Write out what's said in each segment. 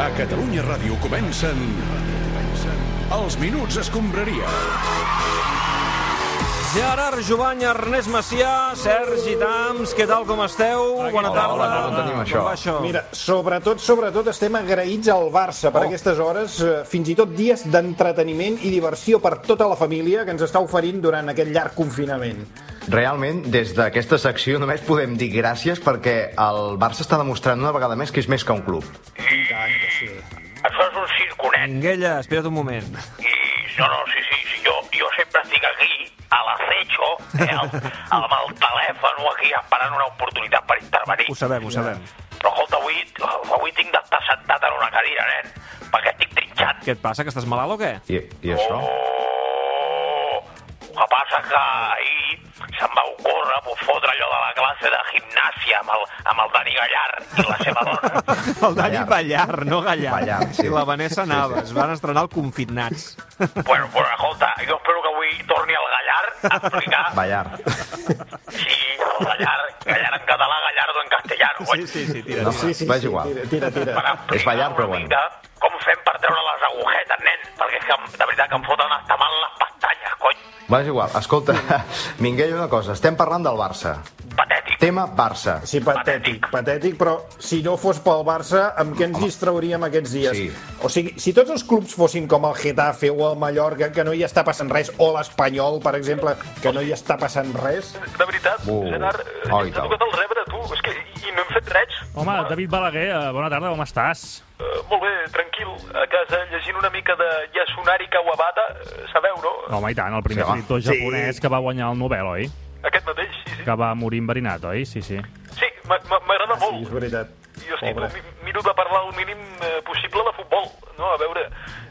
A Catalunya Ràdio comencen... Els Minuts Escombraria. Gerard Jovany, Ernest Macià, Sergi Tams, què tal, com esteu? Bona Hola, tarda. hola, com tenim això? Com va això? Mira, sobretot, sobretot estem agraïts al Barça Oh. per aquestes hores, eh, fins i tot dies d'entreteniment i diversió per tota la família que ens està oferint durant aquest llarg confinament. Realment, des d'aquesta secció només podem dir gràcies perquè el Barça està demostrant una vegada més que és més que un club. I tant que sí. Això és un circonet. Minguella, espera't un moment. I, no, no, sí, sí, sí jo, jo sempre estic aquí, a l'acecho, eh, amb, amb el telèfon aquí, esperant una oportunitat per intervenir. Ho sabem, ho sabem. Però escolta, avui, avui tinc d'estar sentat en una cadira, nen, perquè estic trinxat. Què et passa, que estàs malalt o què? I, i això? Oh, el que passa que ahir se'm va ocórrer pues, fotre allò de la classe de gimnàsia amb el, amb el Dani Gallar i la seva dona. El Dani Ballar. Ballar, no Gallar. Ballar, sí. I la Vanessa Sí, sí. Navas. Van estrenar el Confinats. Bueno, bueno, escolta, jo espero que avui torni el Gallar a explicar Ballar. Sí, Gallar, Gallar en català, Gallardo en castellano. Sí, sí, sí, tira. No, tira. sí, sí, vaig igual. Tira, tira. Per tira. explicar És ballar, una però bueno. mica Com fem per treure les agujetes, nen? Perquè és que, em- de veritat, que em foten hasta mal les pestanyes, cony. Vaig igual. Escolta, Minguell, una cosa. Estem parlant del Barça. Patètic. Tema Barça. Sí, patètic, patètic, però si no fos pel Barça, amb què ens distrauríem aquests dies? Sí. O sigui, si tots els clubs fossin com el Getafe o el Mallorca, que no hi està passant res, o l'Espanyol, per exemple, que no hi està passant res, De veritat, Uh, Gerard, eh, oh, i ens ha tant. tocat el rebre, tu. És que, i no hem fet res. Eh, Home, David Balaguer, eh, bona tarda, com estàs? molt bé, tranquil. A casa llegint una mica de Yasunari Kawabata, eh, sabeu, no? Home, i tant, el primer Sí, home. escriptor japonès que va guanyar el Nobel, oi? Aquest mateix, sí, Que va morir enverinat, oi? Sí, sí. Sí, m'agrada sí, és veritat. Jo estic, Pobre. mi- miro de parlar el mínim eh, possible de futbol, no? A veure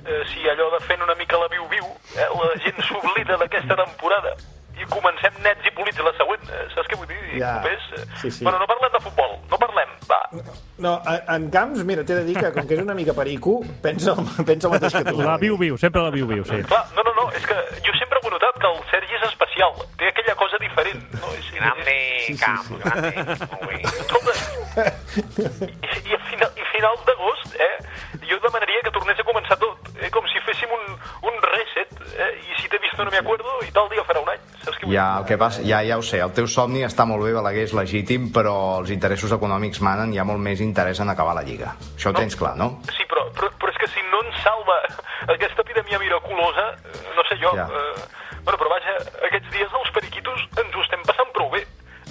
eh, si allò de fent una mica la viu-viu, eh, la gent s'oblida d'aquesta temporada i comencem nets i polits la següent, eh, saps què vull dir? I Ja. Copers, eh, Sí, sí. Bueno, no parlem de futbol, no parlem, va. No, a- en Camps, mira, t'he de dir que com que és una mica perico, pensa, el- pensa el mateix que tu. La viu-viu, sempre la viu-viu, sí. Clar, no, no, no, és que jo sempre ho he notat que el Sergi és especial, té aquella cosa diferent, no? És, grande, sí, sí, camp, sí. grande. Escolta, i, i, a final, i finals d'agost, eh, jo demanaria que tornés a començar tot, eh, com si féssim un, un reset, eh, i si t'he vist no me acuerdo, i tal dia farà un any, saps què vull Ja, el que passa, ja, ja ho sé, el teu somni està molt bé, Balaguer, és legítim, però els interessos econòmics manen, hi ha molt més interès en acabar la Lliga. Això ho tens clar, no? Sí, però, però, però és que si no ens salva aquesta epidèmia miraculosa, eh, no sé jo... Ja. Eh, bueno, però vaja, aquests dies els periquitos ens ho estem passant prou bé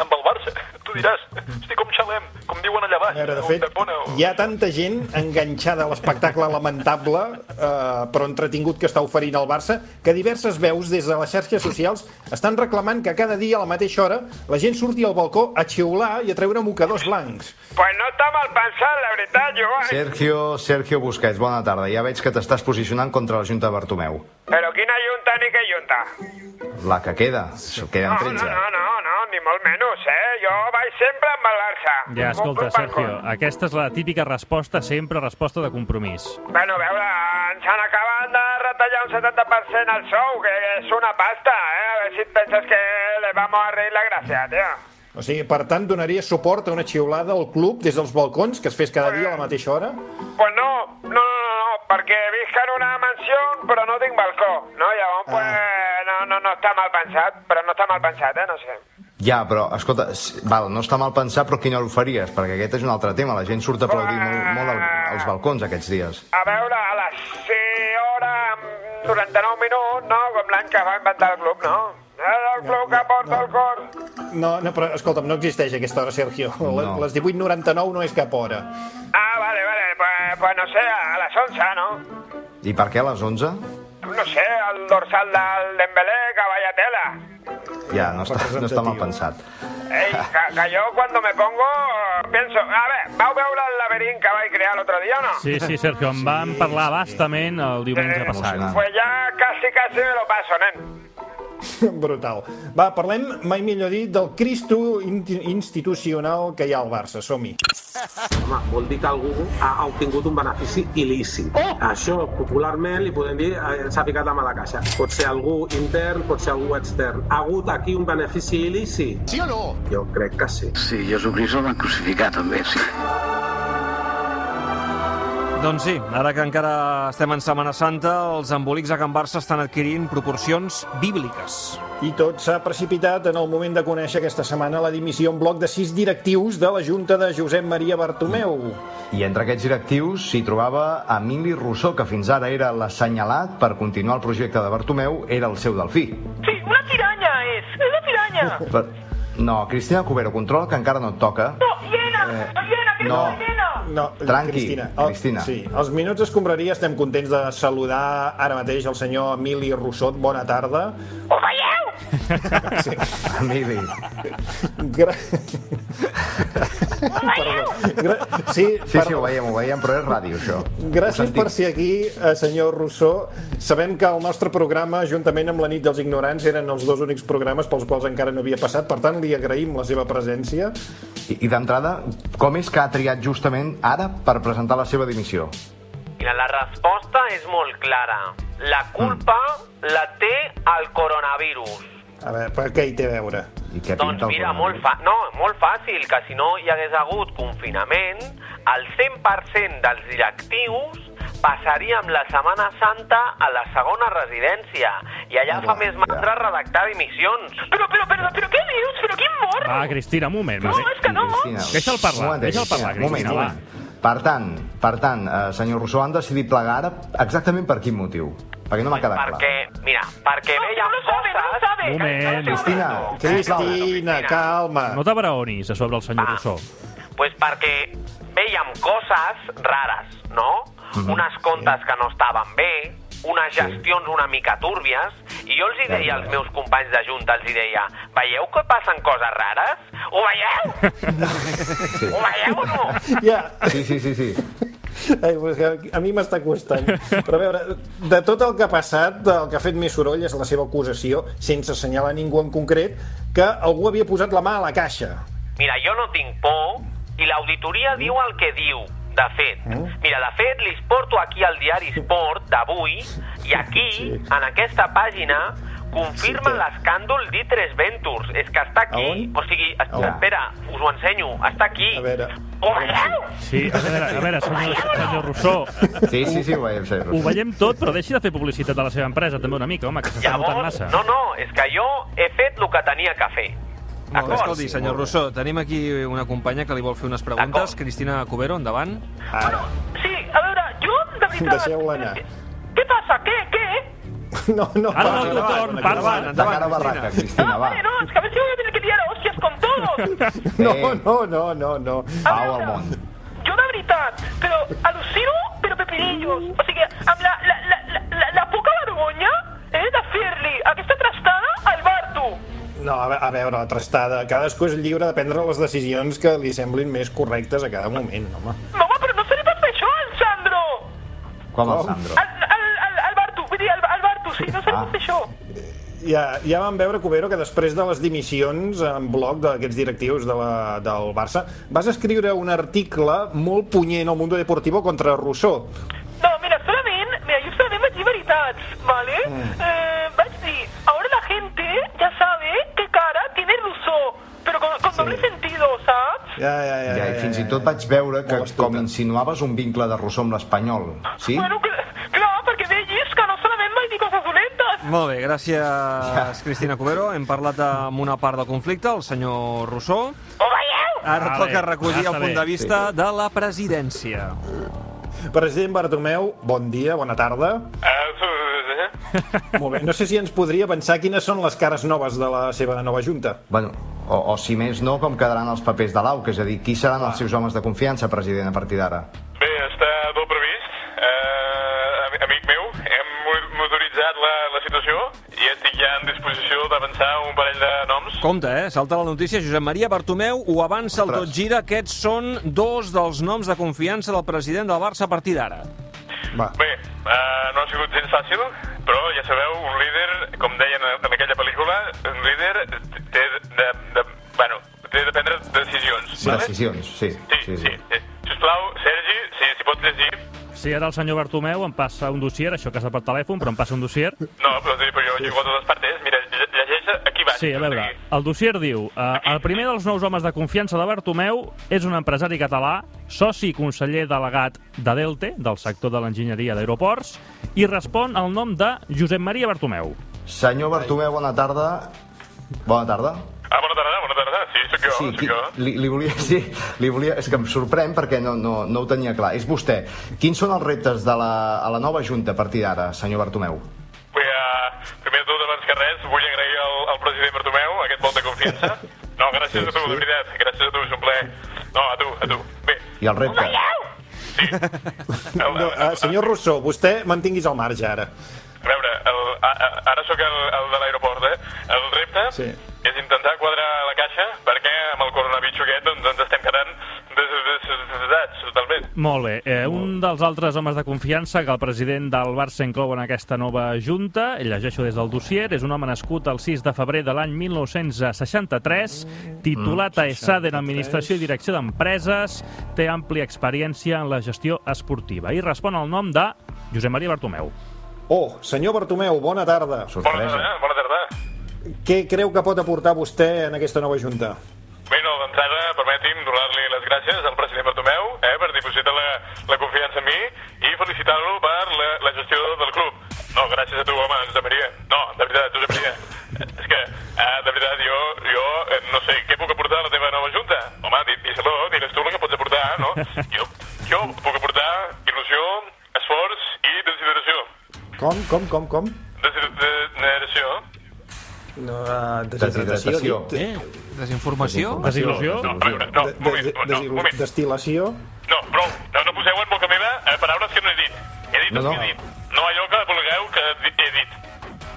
amb el Barça. Tu diràs, estic com xalem, com diuen allà A baix. veure, de o fet, Pepona, o... hi ha tanta gent enganxada a l'espectacle lamentable, eh, però entretingut que està oferint el Barça, que diverses veus des de les xarxes socials estan reclamant que cada dia a la mateixa hora la gent surti al balcó a xiular i a treure mocadors blancs. Pues no està mal pensat, la veritat, Joan. Sergio, Sergio Busquets, bona tarda. Ja veig que t'estàs posicionant contra la Junta de Bartomeu. Però quina junta ni què junta? La que queda. Queden No, 13. no, no, no, no, ni molt menys, eh? Jo vaig sempre amb el Barça. Ja, escolta, Compro un Sergio, balcó. aquesta és la típica resposta, sempre resposta de compromís. Bueno, a veure, ens han acabat de retallar un 70% al sou, que és una pasta, eh? A veure si et penses que le vamos a reír la gràcia, tio. O sigui, per tant, donaria suport a una xiulada al club des dels balcons que es fes cada dia a la mateixa hora? Pues no, no, no, no, no, perquè visc en una mansió però no tinc balcó, no? Llavors, pues, no, no, no està mal pensat, però no està mal pensat, eh? No sé. Ja, però, escolta, s- val, no està mal pensar, però quina hora ho faries? Perquè aquest és un altre tema, la gent surt a aplaudir molt, molt al, als balcons aquests dies. A veure, a les 6 hores amb 99 minuts, no? Com l'any que va inventar el club, no? És el club que porta el cor. No, no, però escolta'm, no existeix aquesta hora, Sergio. No. No. Les 18.99 no és cap hora. Ah, vale, vale, pues, pues no sé, a les 11, no? I per què a les 11? No sé, el dorsal del Dembélé, que vaya tela. Ja, no està, no està mal Representatiu. pensat. Ey, que, que yo cuando me pongo eh, pienso... A ver, ¿vau veure el laberint que vaig crear l'altre dia o no? Sí, sí, Sergio, en vam parlar bastament el diumenge Emocionant. passat. Pues ya casi, casi me lo paso, nen. Brutal. Va, parlem, mai millor dit, del Cristo inti- institucional que hi ha al Barça. Som-hi. Home, vol dir que algú ha obtingut un benefici il·lícit. Oh! Això, popularment, li podem dir eh, s'ha ficat la mala caixa. Pot ser algú intern, pot ser algú extern. Ha hagut aquí un benefici il·lícit? Sí o no? Jo crec que sí. Sí, Jesucrist el van crucificar també, sí. Doncs sí, ara que encara estem en Setmana Santa, els embolics a Can Barça estan adquirint proporcions bíbliques. I tot s'ha precipitat en el moment de conèixer aquesta setmana la dimissió en bloc de sis directius de la Junta de Josep Maria Bartomeu. I entre aquests directius s'hi trobava Emili Rousseau, que fins ara era l'assenyalat per continuar el projecte de Bartomeu, era el seu delfí. Sí, una piranya és, és una piranya. Però... No, Cristina Cubero, controla que encara no et toca. No, hiena, la hiena, que no. no. és hiena. No, Tranqui, Cristina. Cristina. Sí, els minuts escombraria estem contents de saludar ara mateix el senyor Emili Rossot. Bona tarda. Ho veieu? Emili, Gra... Ho veieu? Gra... Sí, sí, sí, ho veiem, ho veiem, però és ràdio, això. Gràcies sentim. per ser aquí, eh, senyor Rousseau. Sabem que el nostre programa, juntament amb la nit dels ignorants, eren els dos únics programes pels quals encara no havia passat. Per tant, li agraïm la seva presència. I, i d'entrada, com és que ha triat justament ara per presentar la seva dimissió? Mira, la resposta és molt clara. La culpa Mm. la té el coronavirus. A veure, per què hi té a veure? I què Doncs pinta el mira, coronavirus? molt, fa no, molt fàcil, que si no hi hagués hagut confinament, el 100% dels directius passaríem la Setmana Santa a la segona residència i allà fa Uah, més ja. mandra redactar dimissions. Però, però, però, però què dius? Però quin morro? Va, Cristina, un moment. No, va. és que no. Cristina, Deixa'l parlar, un moment, deixa'l parlar, un moment, Cristina, un va. moment. Per tant, per tant, eh, senyor Rousseau, han decidit plegar ara exactament per quin motiu? Perquè no m'ha quedat clar. Perquè, mira, perquè No, veiem no lo sabe, no lo coses... sabe. Moment. Cristina, sisplau. Cristina, calma. No t'abraonis a sobre el senyor Ah. Rousseau. Pues perquè veiem coses rares, no? Unes contes que no estaven bé, unes gestions una mica túrbies, i jo els hi deia als meus companys de Junta, els hi deia, veieu que passen coses rares? Ho veieu? Ho veieu o no? Ja, Sí, sí, sí, sí. Ai, pues que a mi m'està costant. Però a veure, de tot el que ha passat, el que ha fet més soroll és la seva acusació, sense assenyalar ningú en concret, que algú havia posat la mà a la caixa. Mira, jo no tinc por i l'auditoria diu el que diu, de fet. Eh? Mira, de fet, li porto aquí al diari Sport d'avui i aquí, Sí. en aquesta pàgina, confirma Sí, que- l'escàndol d'I3 Ventures. És que està aquí. A on? O sigui, es- A on? espera, us ho ensenyo. Està aquí. A veure. Ho veieu? Sí, a veure, a veure senyor, senyor Rousseau, Sí, sí, sí, ho veiem, senyor ho Rousseau. veiem tot, però deixi de fer publicitat de la seva empresa també una mica, home, que s'està notant Llavors, massa. no, no, és que jo he fet el que tenia que fer. Molt bé, D'acord? escolti, senyor Rousseau, tenim aquí una companya que li vol fer unes preguntes. D'acord. Cristina Cubero, endavant. Ara. Sí, a veure, jo, de veritat... Deixeu-la anar. Què passa? Què, què? No, no, Ara no parla, el teu torn, endavant, parla. endavant. De cara a barraca, Cristina, no, va. vale, no, es que a ver si voy a tener que tirar a hostias con todos. No, no, no, no, no. Pau al món. Yo de veritat, però al·lucino, però pepinillos. O sigui, amb la, la, la, la, la, la poca vergonya eh, de fer-li aquesta trastada al Barto. No, a ve- a veure, la trastada. Cadascú és lliure de prendre les decisions que li semblin més correctes a cada moment, home. No, home, però no se li pot fer això al Sandro. Com el Sandro. Al, al, al, al Barto, vull dir, al, al Barto, sí, no se li pot fer això. Ja, ja vam veure, Cubero, que després de les dimissions en bloc d'aquests directius de la, del Barça, vas escriure un article molt punyent al Mundo Deportivo contra Rousseau. No, mira, solament, mira, jo solament vaig dir veritats, ¿vale? Eh, vaig dir, ahora la gente ya sabe qué cara tiene Rousseau, pero con, con doble sentido, ¿sabes? Ja, ja, ja. Ja, i fins i tot vaig veure que Molt astuta. com insinuaves un vincle de Rousseau amb l'espanyol, sí? Bueno, que, clar, perquè veies que no solament vaig dir coses dolentes. Molt bé, gràcies, Cristina Cubero. Hem parlat amb una part del conflicte, el senyor Rousseau. Ho veieu? Ara Vale, toca recollir ja el està punt bé. de vista de la presidència. President Bartomeu, bon dia, bona tarda. Molt bé, no sé si ens podria pensar quines són les cares noves de la seva nova junta. Bueno, o, o si més no, com quedaran els papers de l'AUC, és a dir, qui seran Ah. els seus homes de confiança, president, a partir d'ara? Bé, està tot previst. Uh, amic meu, hem mo- motoritzat la, la situació i estic ja en disposició d'avançar un parell de noms. Compte, eh? Salta la notícia. Josep Maria Bartomeu ho avança al Ostres. tot gira. Aquests són dos dels noms de confiança del president del Barça a partir d'ara. Va. Bé, uh, no ha sigut gens fàcil, però ja sabeu, un líder, com deien en aquella pel·lícula, un líder té de, de, bueno, té de prendre decisions. Sí. Decisions, sí. Sí, sí. sí. Sisplau, Sergi, si, si pots llegir... Si ara el senyor Bartomeu em passa un dossier, això que està per telèfon, però em passa un dossier, No, però, però jo llego a totes partes. Mira, lle- llegeix aquí baix. Sí, a veure, el dossier diu eh, el primer dels nous homes de confiança de Bartomeu és un empresari català, soci i conseller delegat de Delte, del sector de l'enginyeria d'aeroports, i respon al nom de Josep Maria Bartomeu. Senyor Bartomeu, bona tarda. Bona tarda. Ah, bona tarda, bona tarda. Sí, sóc jo, Sí, sóc qui, jo. li, li, volia, sí, li volia... És que em sorprèn perquè no, no, no ho tenia clar. És vostè. Quins són els reptes de la, a la nova Junta a partir d'ara, senyor Bartomeu? Bé, eh, primer de tot, abans que res, vull agrair al, al president Bartomeu aquest vot de confiança. No, gràcies a tu, de veritat. Gràcies a tu, és un plaer. No, a tu, a tu. Bé, I el repte... No, eh, senyor Rousseau, vostè mantinguis al marge ara. a veure, el, a, a, ara sóc el, el de l'aeroport, eh? El repte Sí. és intentar quadrar la caixa perquè amb el coronavirus aquest doncs, ens estem quedant des- des- desdesats totalment. Molt bé. Eh, un dels altres homes de confiança que el president del Barça inclou en aquesta nova junta, el llegeixo des del dossier, és un home nascut el 6 de febrer de l'any 1963, titulat a ESAD en Administració i Direcció d'Empreses, té àmplia experiència en la gestió esportiva i respon al nom de Josep Maria Bartomeu. Oh, senyor Bartomeu, bona tarda. Bona tarda, bona tarda. Què creu que pot aportar vostè en aquesta nova Junta? Bé, no, d'entrada, permeti'm donar-li les gràcies al president Bartomeu eh, per dipositar la, la confiança en mi i felicitar-lo per la, la gestió del club. No, gràcies a tu, home, Josep Maria. No, de veritat, Josep Maria. Eh, És que, eh, de veritat, jo, jo eh, no sé, què puc aportar a la teva nova junta? Home, di- dis-lo, digues tu el que pots aportar, no? Jo, jo puc aportar il·lusió, esforç i desideració. Com, com, com, com? Desideració. No, uh, Deshidratació. Eh? Desinformació? Desil·lusió? No, a veure, no, un moment, no, un moment. Destil·lació? No, prou. No, no poseu en boca meva eh, paraules que no he dit. He dit No, el no. que he dit. No allò que vulgueu que di- he dit.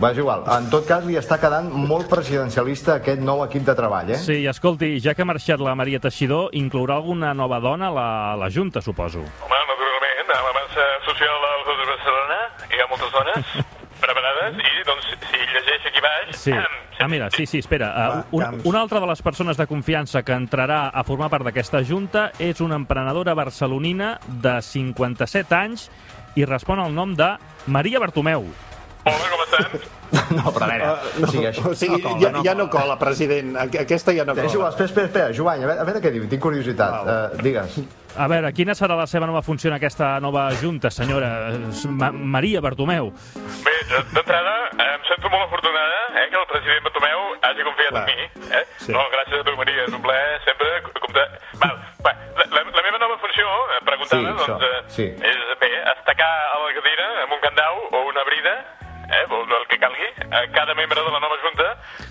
Va, és igual. En tot cas, li està quedant molt presidencialista aquest nou equip de treball, eh? Sí, i escolti, ja que ha marxat la Maria Teixidor, inclourà alguna nova dona a la, a la junta, suposo. Home, naturalment, amb la massa social del Club de Barcelona hi ha moltes dones preparades i, doncs, si llegeix aquí baix... Sí. Ah, mira, sí, sí, espera. Va, Uh, un, Camps. una altra de les persones de confiança que entrarà a formar part d'aquesta junta és una emprenedora barcelonina de 57 anys i respon al nom de Maria Bartomeu. Hola, com estan? No, però a veure, o sigui, això... Ah, O sigui, No cola, ja, no ja no cola, president. Aqu- Aquesta ja no És igual, cola. espera, espera, espera, Joan, a veure, a veure què diu, tinc curiositat. Uh, digues. A veure, quina serà la seva nova funció en aquesta nova junta, senyora eh, Ma Maria Bartomeu? Bé, d- d'entrada, eh, em sento molt afortunada eh, que el president Bartomeu hagi confiat Clar. en mi. Eh? Sí. No, gràcies a tu, Maria, és un plaer sempre c- comptar... Val, va, la, la, la meva nova funció, eh, preguntava, Sí, això, doncs, eh, sí. és bé, estacar a la cadira amb un candau o una brida, eh, o el que calgui, a cada membre de la nova junta,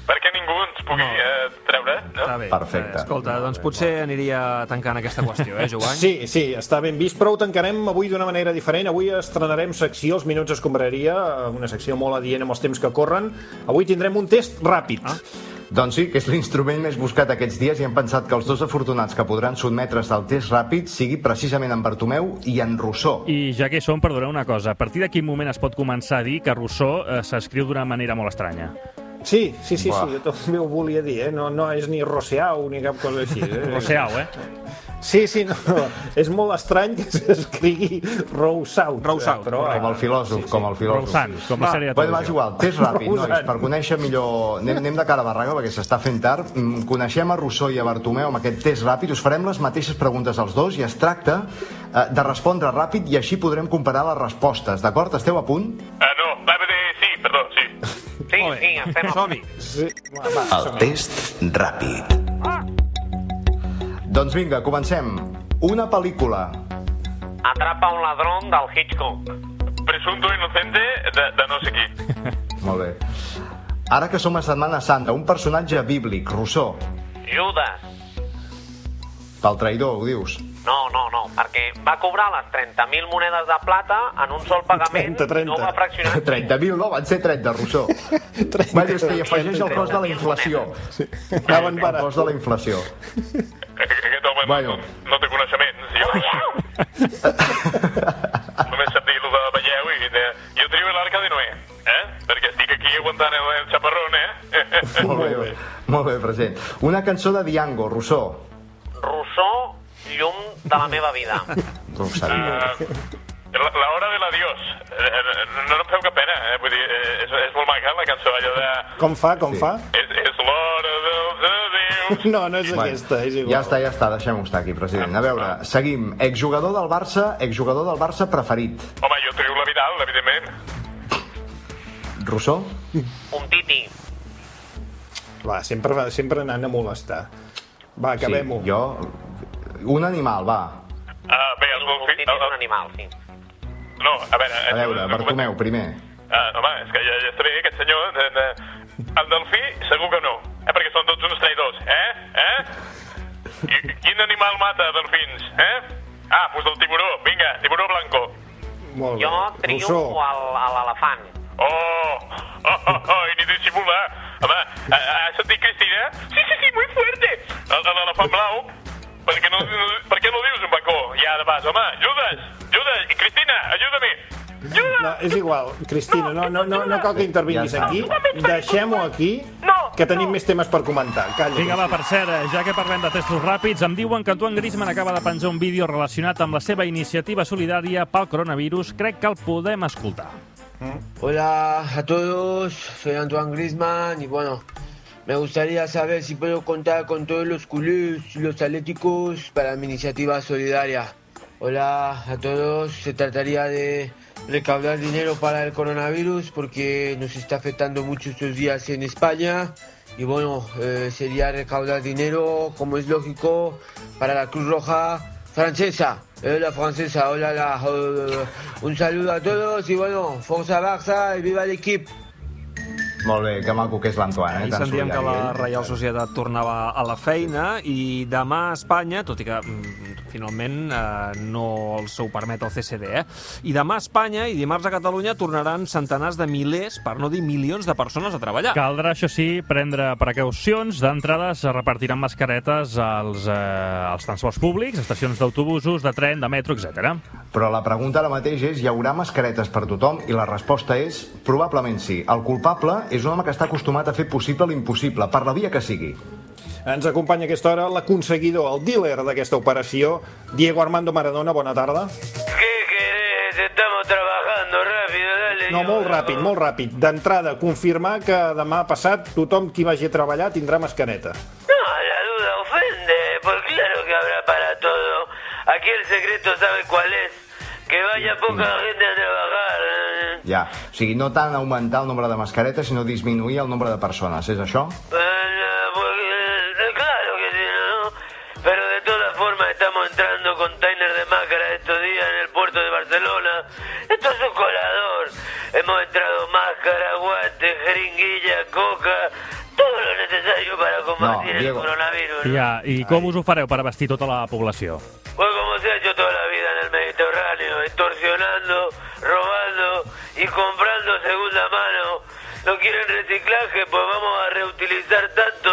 perquè ningú ens pugui eh, treure, no? Està bé. Perfecte. Eh, Escolta, doncs potser aniria tancant aquesta qüestió, eh, Joan? Sí, sí, està ben vist, però ho tancarem avui d'una manera diferent. Avui estrenarem secció Els Minuts Escombraria, una secció molt adient amb els temps que corren. Avui tindrem un test ràpid. Ah. Doncs sí, que és l'instrument més buscat aquests dies i hem pensat que els dos afortunats que podran sotmetre's al test ràpid sigui precisament en Bartomeu i en Rousseau. I ja que hi som, perdoneu una cosa. A partir de quin moment es pot començar a dir que Rousseau eh, s'escriu d'una manera molt estranya? Sí, sí, sí, Buah. sí, jo també ho volia dir, eh? no, no és ni Roseau ni cap cosa així. Eh? Rousseau, eh? Sí, sí, no, no, és molt estrany que s'escrigui Rousseau. eh, Rousseau, Com el filòsof, com el filòsof. Roussan, com la sèrie de Bueno, va, és televisió. igual, test ràpid, Roussan. nois, per conèixer millor... Anem, anem de cara a barraca, perquè s'està fent tard. Mm, Coneixem a Rousseau i a Bartomeu amb aquest test ràpid. Us farem les mateixes preguntes als dos i es tracta eh, de respondre ràpid i així podrem comparar les respostes, d'acord? Esteu a punt? Ah, no, va bé, sí, perdó, sí. Sí, sí, estem... Som-hi. El test ràpid. Ah! Doncs vinga, comencem. Una pel·lícula. Atrapa un ladrón del Hitchcock. Presunto inocente de, de no sé qui. Molt bé. Ara que som a Setmana Santa, un personatge bíblic, Rousseau. Judas. Pel traïdor, ho dius. No, no, no, perquè va cobrar les 30.000 monedes de plata en un sol pagament 30, 30. i no va fraccionar. 30.000, no? Van ser 30, Rousseau. Va dir, és que hi afegeix el cost de la inflació. Anaven El barat. cost de la inflació. Aquest home Bueno. bueno. no, no té coneixements. Jo... Només sap dir-lo de veieu i de... Jo trio l'arca de Noé, eh? Perquè estic aquí aguantant el, el xaparrón, eh? Molt bé, molt bé, president. Una cançó de Diango, Rousseau. Rousseau, llum de la meva vida. No ho sabia. Eh, la- la hora de l'adiós. Eh, No, no em feu cap pena, eh? Vull dir, eh, és, és molt maca la cançó, allò de... Com fa, com Sí. fa? És, és lo No, no és aquesta, és igual. Ja està, ja està, deixem-ho estar aquí, president. A veure, seguim. Exjugador del Barça, exjugador del Barça preferit. Home, jo trio la Vidal, evidentment. Rousseau? Un titi. Va, sempre, sempre anant a molestar. Va, acabem-ho. Sí, jo... Un animal, va. eh, Ah, bé, els Un titi golfins... és un animal, sí. No, a veure... eh, A veure, Bartomeu, primer. Ah, home, és que ja, ja està bé, aquest senyor... De, de... El delfí segur que no, eh, perquè són tots uns traïdors, eh? Eh? I, quin animal mata delfins, eh? Ah, doncs el tiburó, vinga, tiburó blanco. Molt bé. Jo Rousseau. triomfo al- a l'elefant. Oh, oh, oh, oh, i ni dissimula. Home, ha- ha- has sentit Cristina? Sí, sí, sí, muy fuerte. El- el- L'elefant blau? Per què no, per què no dius un bacó? Ja, de pas, home, Judes, Judes, i Cristina, ajuda-me. No, és igual, Cristina, no, no, no, no cal que intervinguis Ja està. aquí. Deixem-ho aquí, No, que tenim no. més temes per comentar. Calla. doncs. Vinga, va, per cert, eh, ja que parlem de testos ràpids, em diuen que Antoine Griezmann acaba de penjar un vídeo relacionat amb la seva iniciativa solidària pel coronavirus. Crec que el podem escoltar. Hola a todos, soy Antoine Griezmann y bueno, me gustaría saber si puedo contar con todos los culés y los atléticos para mi iniciativa solidaria. Hola a todos, se trataría de recaudar dinero para el coronavirus porque nos está afectando mucho estos días en España y bueno, eh, sería recaudar dinero como es lógico para la Cruz Roja francesa. Hola francesa, hola la, eh, un saludo a todos y bueno, Forza Barça y viva el equipo. Molt bé, que maco que és l'Antoine, eh? Ahir Tan sentíem que solidari, la ell. Reial Societat tornava a la feina i demà a Espanya, tot i que mm, finalment eh, no els ho permet el CCD, eh? i demà a Espanya i dimarts a Catalunya tornaran centenars de milers, per no dir milions de persones a treballar. Caldrà, això sí, prendre precaucions. D'entrada es repartiran mascaretes als, eh, als transports públics, estacions d'autobusos, de tren, de metro, etc. Però la pregunta ara mateix és, hi haurà mascaretes per tothom? I la resposta és, probablement sí. El culpable és un home que està acostumat a fer possible l'impossible, per la via que sigui. Ens acompanya a aquesta hora l'aconseguidor, el dealer d'aquesta operació, Diego Armando Maradona, bona tarda. ¿Qué querés? Estamos trabajando rápido, dale. No, molt ràpid, molt ràpid. D'entrada, confirmar que demà passat tothom qui vagi a treballar tindrà mascareta. No, la duda ofende, pues claro que habrá para todo. Aquí el secreto sabe cuál es. Que vaya poca gente a trabajar. eh. Ja. O sigui, no tant augmentar el nombre de mascaretes, sinó disminuir el nombre de persones. És això? Eh, pues, eh, claro que sí, ¿no? Pero de todas formas estamos entrando container de máscara estos días en el puerto de Barcelona. Esto es un colador. Hemos entrado máscara, guantes, jeringuilla, coca, todo lo necesario para combatir el Diego. coronavirus. ¿no? Ja, I com us ho fareu per abastir tota la població? Fue Pues como se ha hecho toda la vida en el Mediterráneo, extorsionando, robando y comprando segunda mano. No quieren reciclaje, pues vamos a reutilizar tanto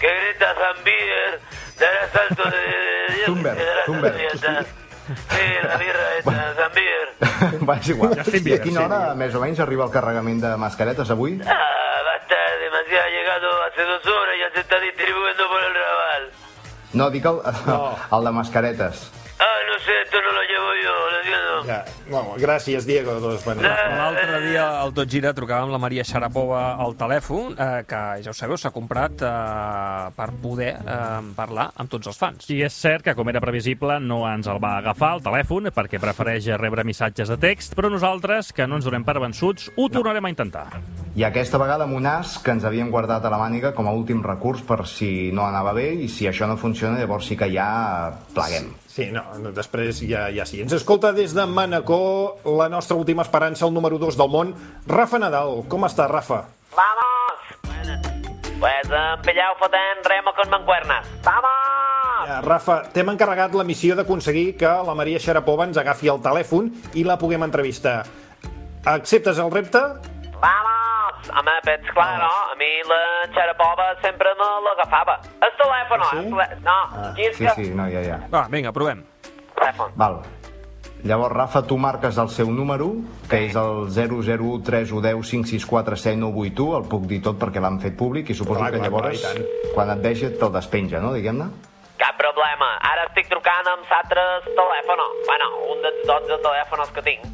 que Greta Zambier dará saltos de... de, de- Thunberg, que dará Thunberg. saltos de- Sí, la birra esta, Zambier. Va, és igual. Justin I Bieber, a quina sí, hora, més o menys, arriba el carregament de mascaretes avui? Ah, basta, demasiado ha llegado hace dos horas y ya se está distribuyendo por el Raval. No, dic el, el de mascaretes. Ah, no sé, esto no lo llevo yo, lo siento. Ja. No, gràcies, Diego, doncs, de totes maneres. Eh, L'altre dia al Tot Gira trucava amb la Maria Sharapova al telèfon, eh, que ja ho sabeu, s'ha comprat eh, per poder eh, parlar amb tots els fans. I és cert que, com era previsible, no ens el va agafar al telèfon perquè prefereix rebre missatges de text, però nosaltres, que no ens donem per vençuts, ho tornarem a intentar. I aquesta vegada amb un as que ens havíem guardat a la màniga com a últim recurs per si no anava bé i si això no funciona, llavors sí que ja pleguem. Sí, no, no, després ja, ja sí. Ens escolta des de Manacor la nostra última esperança, el número 2 del món, Rafa Nadal. Com està, Rafa? ¡Vamos! Pues han pillado fotén remo con mancuernas. ¡Vamos! Ja, Eh, Rafa, t'hem encarregat la missió d'aconseguir que la Maria Sharapova ens agafi el telèfon i la puguem entrevistar. Acceptes el repte? ¡Vamos! Home, però esclar, no? A mi la Xarapova sempre me l'agafava. El telèfon, Ah, sí? el telè- No, Ah, i és sí, que... sí, no, ja, ja. Va, vinga, provem. Telèfon. Val. Llavors, Rafa, tu marques el seu número, que és el 0013105646981, el puc dir tot perquè l'han fet públic i suposo Clar, que clar, llavors, clar, i quan et vegi, te'l despenja, no, diguem-ne? Cap problema. Ara estic trucant amb s'altres telèfon. Bueno, un dels 12 telèfons que tinc.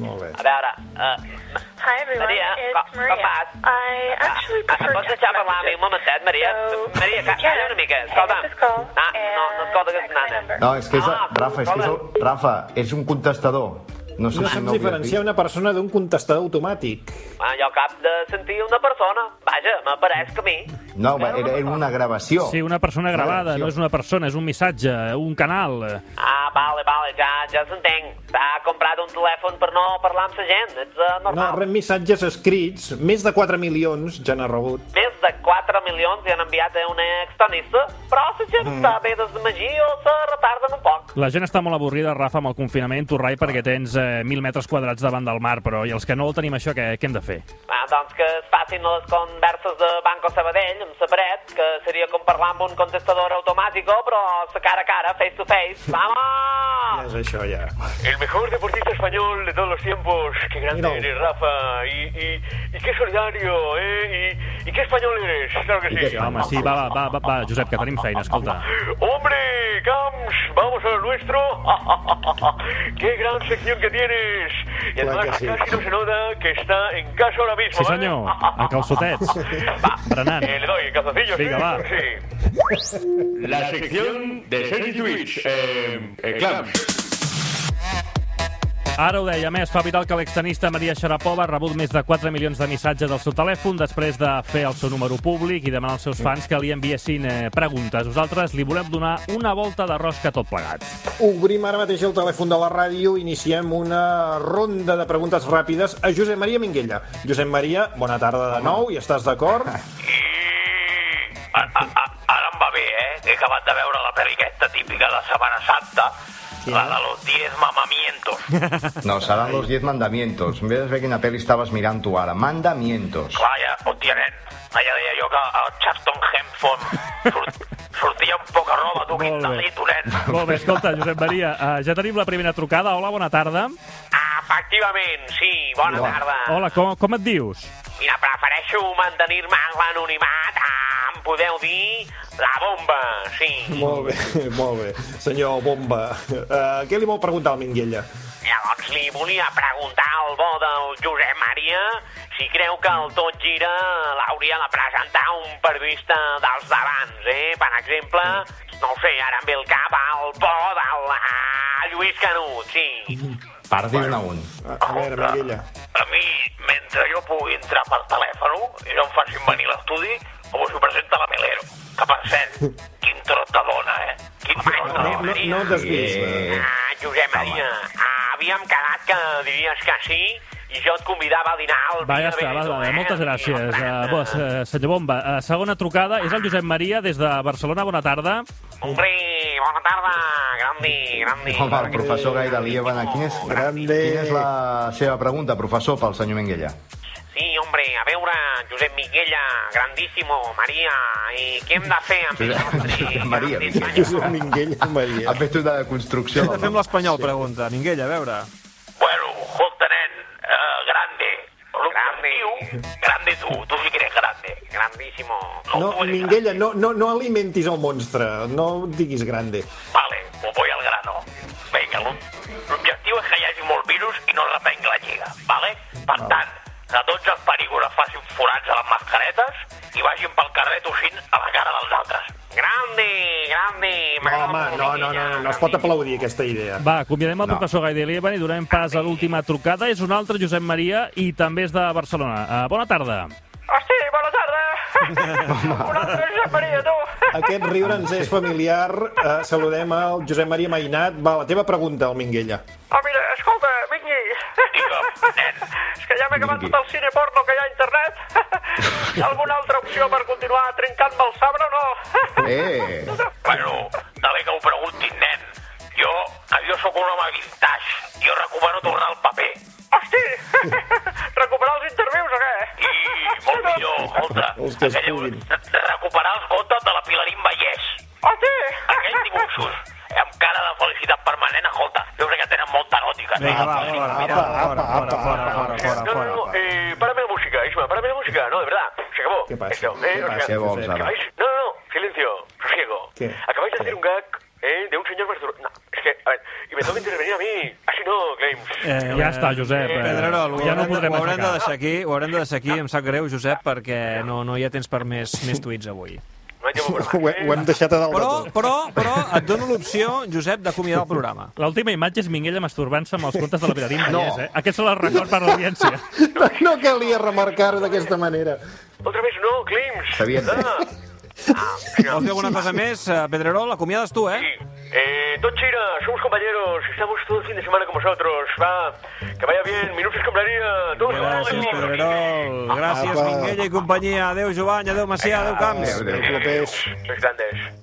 Molt bé. A veure... Uh, Hi, everyone. Maria, it's com- com Maria. vas? I actually Ah, prefer Pots text deixar parlar amb mi un messages. momentet, Maria? Maria, ca- calla una mica, escolta'm. Ah, no, no escolta aquesta nana. No, és que és... Ah, Rafa, és que és el... Rafa, és un contestador. No sé No si saps no ho havies diferenciar una persona d'un contestador automàtic. Allò cap de sentir una persona. Vaja, m'apareix que a mi. vist. No, va, era, era una gravació. Sí, una persona gravada, no és una persona, és un missatge, un canal. Ah, vale, vale, ja, ja s'entenc. T'ha comprat un telèfon per no parlar amb la gent. Ets eh, No, normal. rep missatges escrits, més de 4 milions ja n'ha rebut. Més de 4 milions li han enviat a una extranista, però la gent Mm. està bé desmagir o se retarden un poc. La gent està molt avorrida, Rafa, amb el confinament, tu, Rai, perquè tens eh, 1.000 metres quadrats davant del mar, però i els que no el tenim això, què, què hem de fer? Ah, doncs que es facin les converses de Banco Sabadell amb la paret, que seria com parlar amb un contestador automàtico, però sa cara a cara, face to face. Vamos! És això, ja. El mejor deportista español de todos los tiempos. Qué grande Mira. eres, Rafa. Y, y, y qué solidario, ¿eh? Y, y qué español eres. Claro que sí. Sí, home, sí, va, va, va, va, va, Josep, que tenim feina, escolta. Hombre, Camps, vamos a lo nuestro. qué gran sección que tienes. Y Claro además que sí. casi no se nota que está en casa ahora mismo. Sí, ¿eh? senyor, en calçotets, berenant. Eh, le doy en calzoncillos. Vinga, ¿eh? va. Sí. La sección de Sergi Twitch. Eh, eh, Camps. Ara ho deia, a més, fa viral que l'extenista Maria Sharapova ha rebut més de 4 milions de missatges del seu telèfon després de fer el seu número públic i demanar als seus fans que li enviessin eh, preguntes. Nosaltres li volem donar una volta de rosca a tot plegat. Obrim ara mateix el telèfon de la ràdio, iniciem una ronda de preguntes ràpides a Josep Maria Minguella. Josep Maria, bona tarda de nou, i estàs d'acord? A- a- a- Ara em va bé, eh? He acabat de veure la pel·li aquesta típica de Semana Santa, la de los 10 mamamientos. No, seran los 10 mandamientos. Vés a veure quina pel·li estaves mirant tu ara. Mandamientos. Clar, ja ho tenen. Allà deia jo que el Charlton Hemford sort, sortia amb poca roba, tu, quin talito, nen. Molt bé, escolta, Josep Maria, eh, ja tenim la primera trucada. Hola, bona tarda. Efectivament, sí, bona tarda. Hola, com, com et dius? Mira, prefereixo mantenir-me en l'anonimat. Ah, em podeu dir la bomba, sí. Molt bé, molt bé. Senyor Bomba, uh, què li vol preguntar al Minguella? Llavors li volia preguntar al bo del Josep Maria si creu que el Tot Gira l'hauria de presentar un periodista dels d'abans, eh? Per exemple, no ho sé, ara em ve el cap al bo del ah, Lluís Canut, sí. Per dir-ne un. A, a veure, Minguella. A mi, mentre jo pugui entrar per telèfon i no em facin venir a l'estudi, avui s'ho presenta la Melero. Que per cert, quin trot de dona, eh? Quin trot de dona. No et desviïs. eh? Ah, Josep Maria, ah, havíem quedat que diries que sí i jo et convidava a dinar al Va, ja Via està, va, Veneto, va, eh? moltes gràcies. Uh, bo, eh, senyor Bomba, uh, segona trucada és el Josep Maria des de Barcelona. Bona tarda. Hombre, bona tarda, grandi, grandi. Home, el professor Gai Dalí, bueno, quina és, quina és la seva pregunta, professor, pel senyor Menguella? Sí, hombre, a veure, Josep Miguella, grandíssimo, Maria, i què hem de fer amb Josep, Josep Maria. Josep Minguella Maria. Ha fet una construcció. Hem de fer amb l'espanyol, pregunta. Minguella, a veure. Escolta, nen, eh, grande. Grande. Grande tu, tu sí que eres grande. Grandíssimo. No, Minguella, no, no, no alimentis el monstre, no diguis grande. Vale, pues voy al grano. Venga, l'objectiu és que hi hagi molt virus i no repengui la lliga, vale? Per tant, que tots els perigures facin forats a les mascaretes i vagin pel carrer tossint a la cara dels altres. Grande, grande. No, home, no, no, no, no es pot aplaudir aquesta idea. Va, convidem el no. professor Gai de Lieven i donem pas a l'última trucada. És un altre Josep Maria i també és de Barcelona. Uh, bona tarda. Hosti, bona tarda. Una altra Josep Maria, tu. Aquest riure ens és familiar. Eh, saludem al Josep Maria Mainat. Va, la teva pregunta, al Minguella. Ah, mira, escolta, Mingui. És que ja m'he acabat tot el cine porno que hi ha a internet. Hi ha alguna altra opció per continuar trencant-me el sabre o no? Eh! Bueno, de bé que ho preguntin, nen. Jo, jo sóc un home vintage. Jo recomano tornar al paper. Hosti, recuperar els intervius o què? I molt millor, escolta, Els que es aquell- puguin. de recuperar els gotes de la Pilarín Vallès. Hosti! Aquells dibuixos amb cara de felicitat permanent, escolta, jo crec que tenen molta eròtica. Vinga, va, fora, Ah, Mira, fora, fora, fora, fora, fora, No, fora. no, no, eh, párame la música, Isma, párame la música, no, de verdad. Se acabó. ¿Qué pasa? Esto, eh, ¿Qué o sea, pasa, ¿Qué vamos a acabáis- No, no, no, silencio, sosiego. ¿Qué? Acabáis de hacer un gag eh, de un señor barcelonés. No, es que, a ver, y me toca intervenir a mí. Así no, Claims. Eh, ja està, Josep. Eh, Pedrerol, ho ja no haurem, de, podrem ho haurem de aixecar. deixar aquí, ho haurem de deixar aquí, em sap greu, Josep, perquè no, no hi ha temps per més, més tuits avui. Ho, he- ho hem deixat a dalt Però, de tot. però, però et dono l'opció, Josep, d'acomiadar el programa. L'última imatge és Minguella masturbant-se amb els contes de la Pilarín No. Vallès, eh? Aquests són els records per a l'audiència. No, no calia remarcar d'aquesta manera. Otra vez no, Clims. Sabía. Ah, Vols dir alguna cosa més, eh, Pedrerol? Acomiades tu, eh? eh, Don Chira, somos compañeros. Estamos todo el fin de semana con vosotros. Va, que vaya bien. Minutos compraría. Todos Gràcies, Pedrerol. Gràcies, Apa. Minguella i companyia. Adéu, Jovany. Adéu, Macià. Adéu, Camps. Los grandes.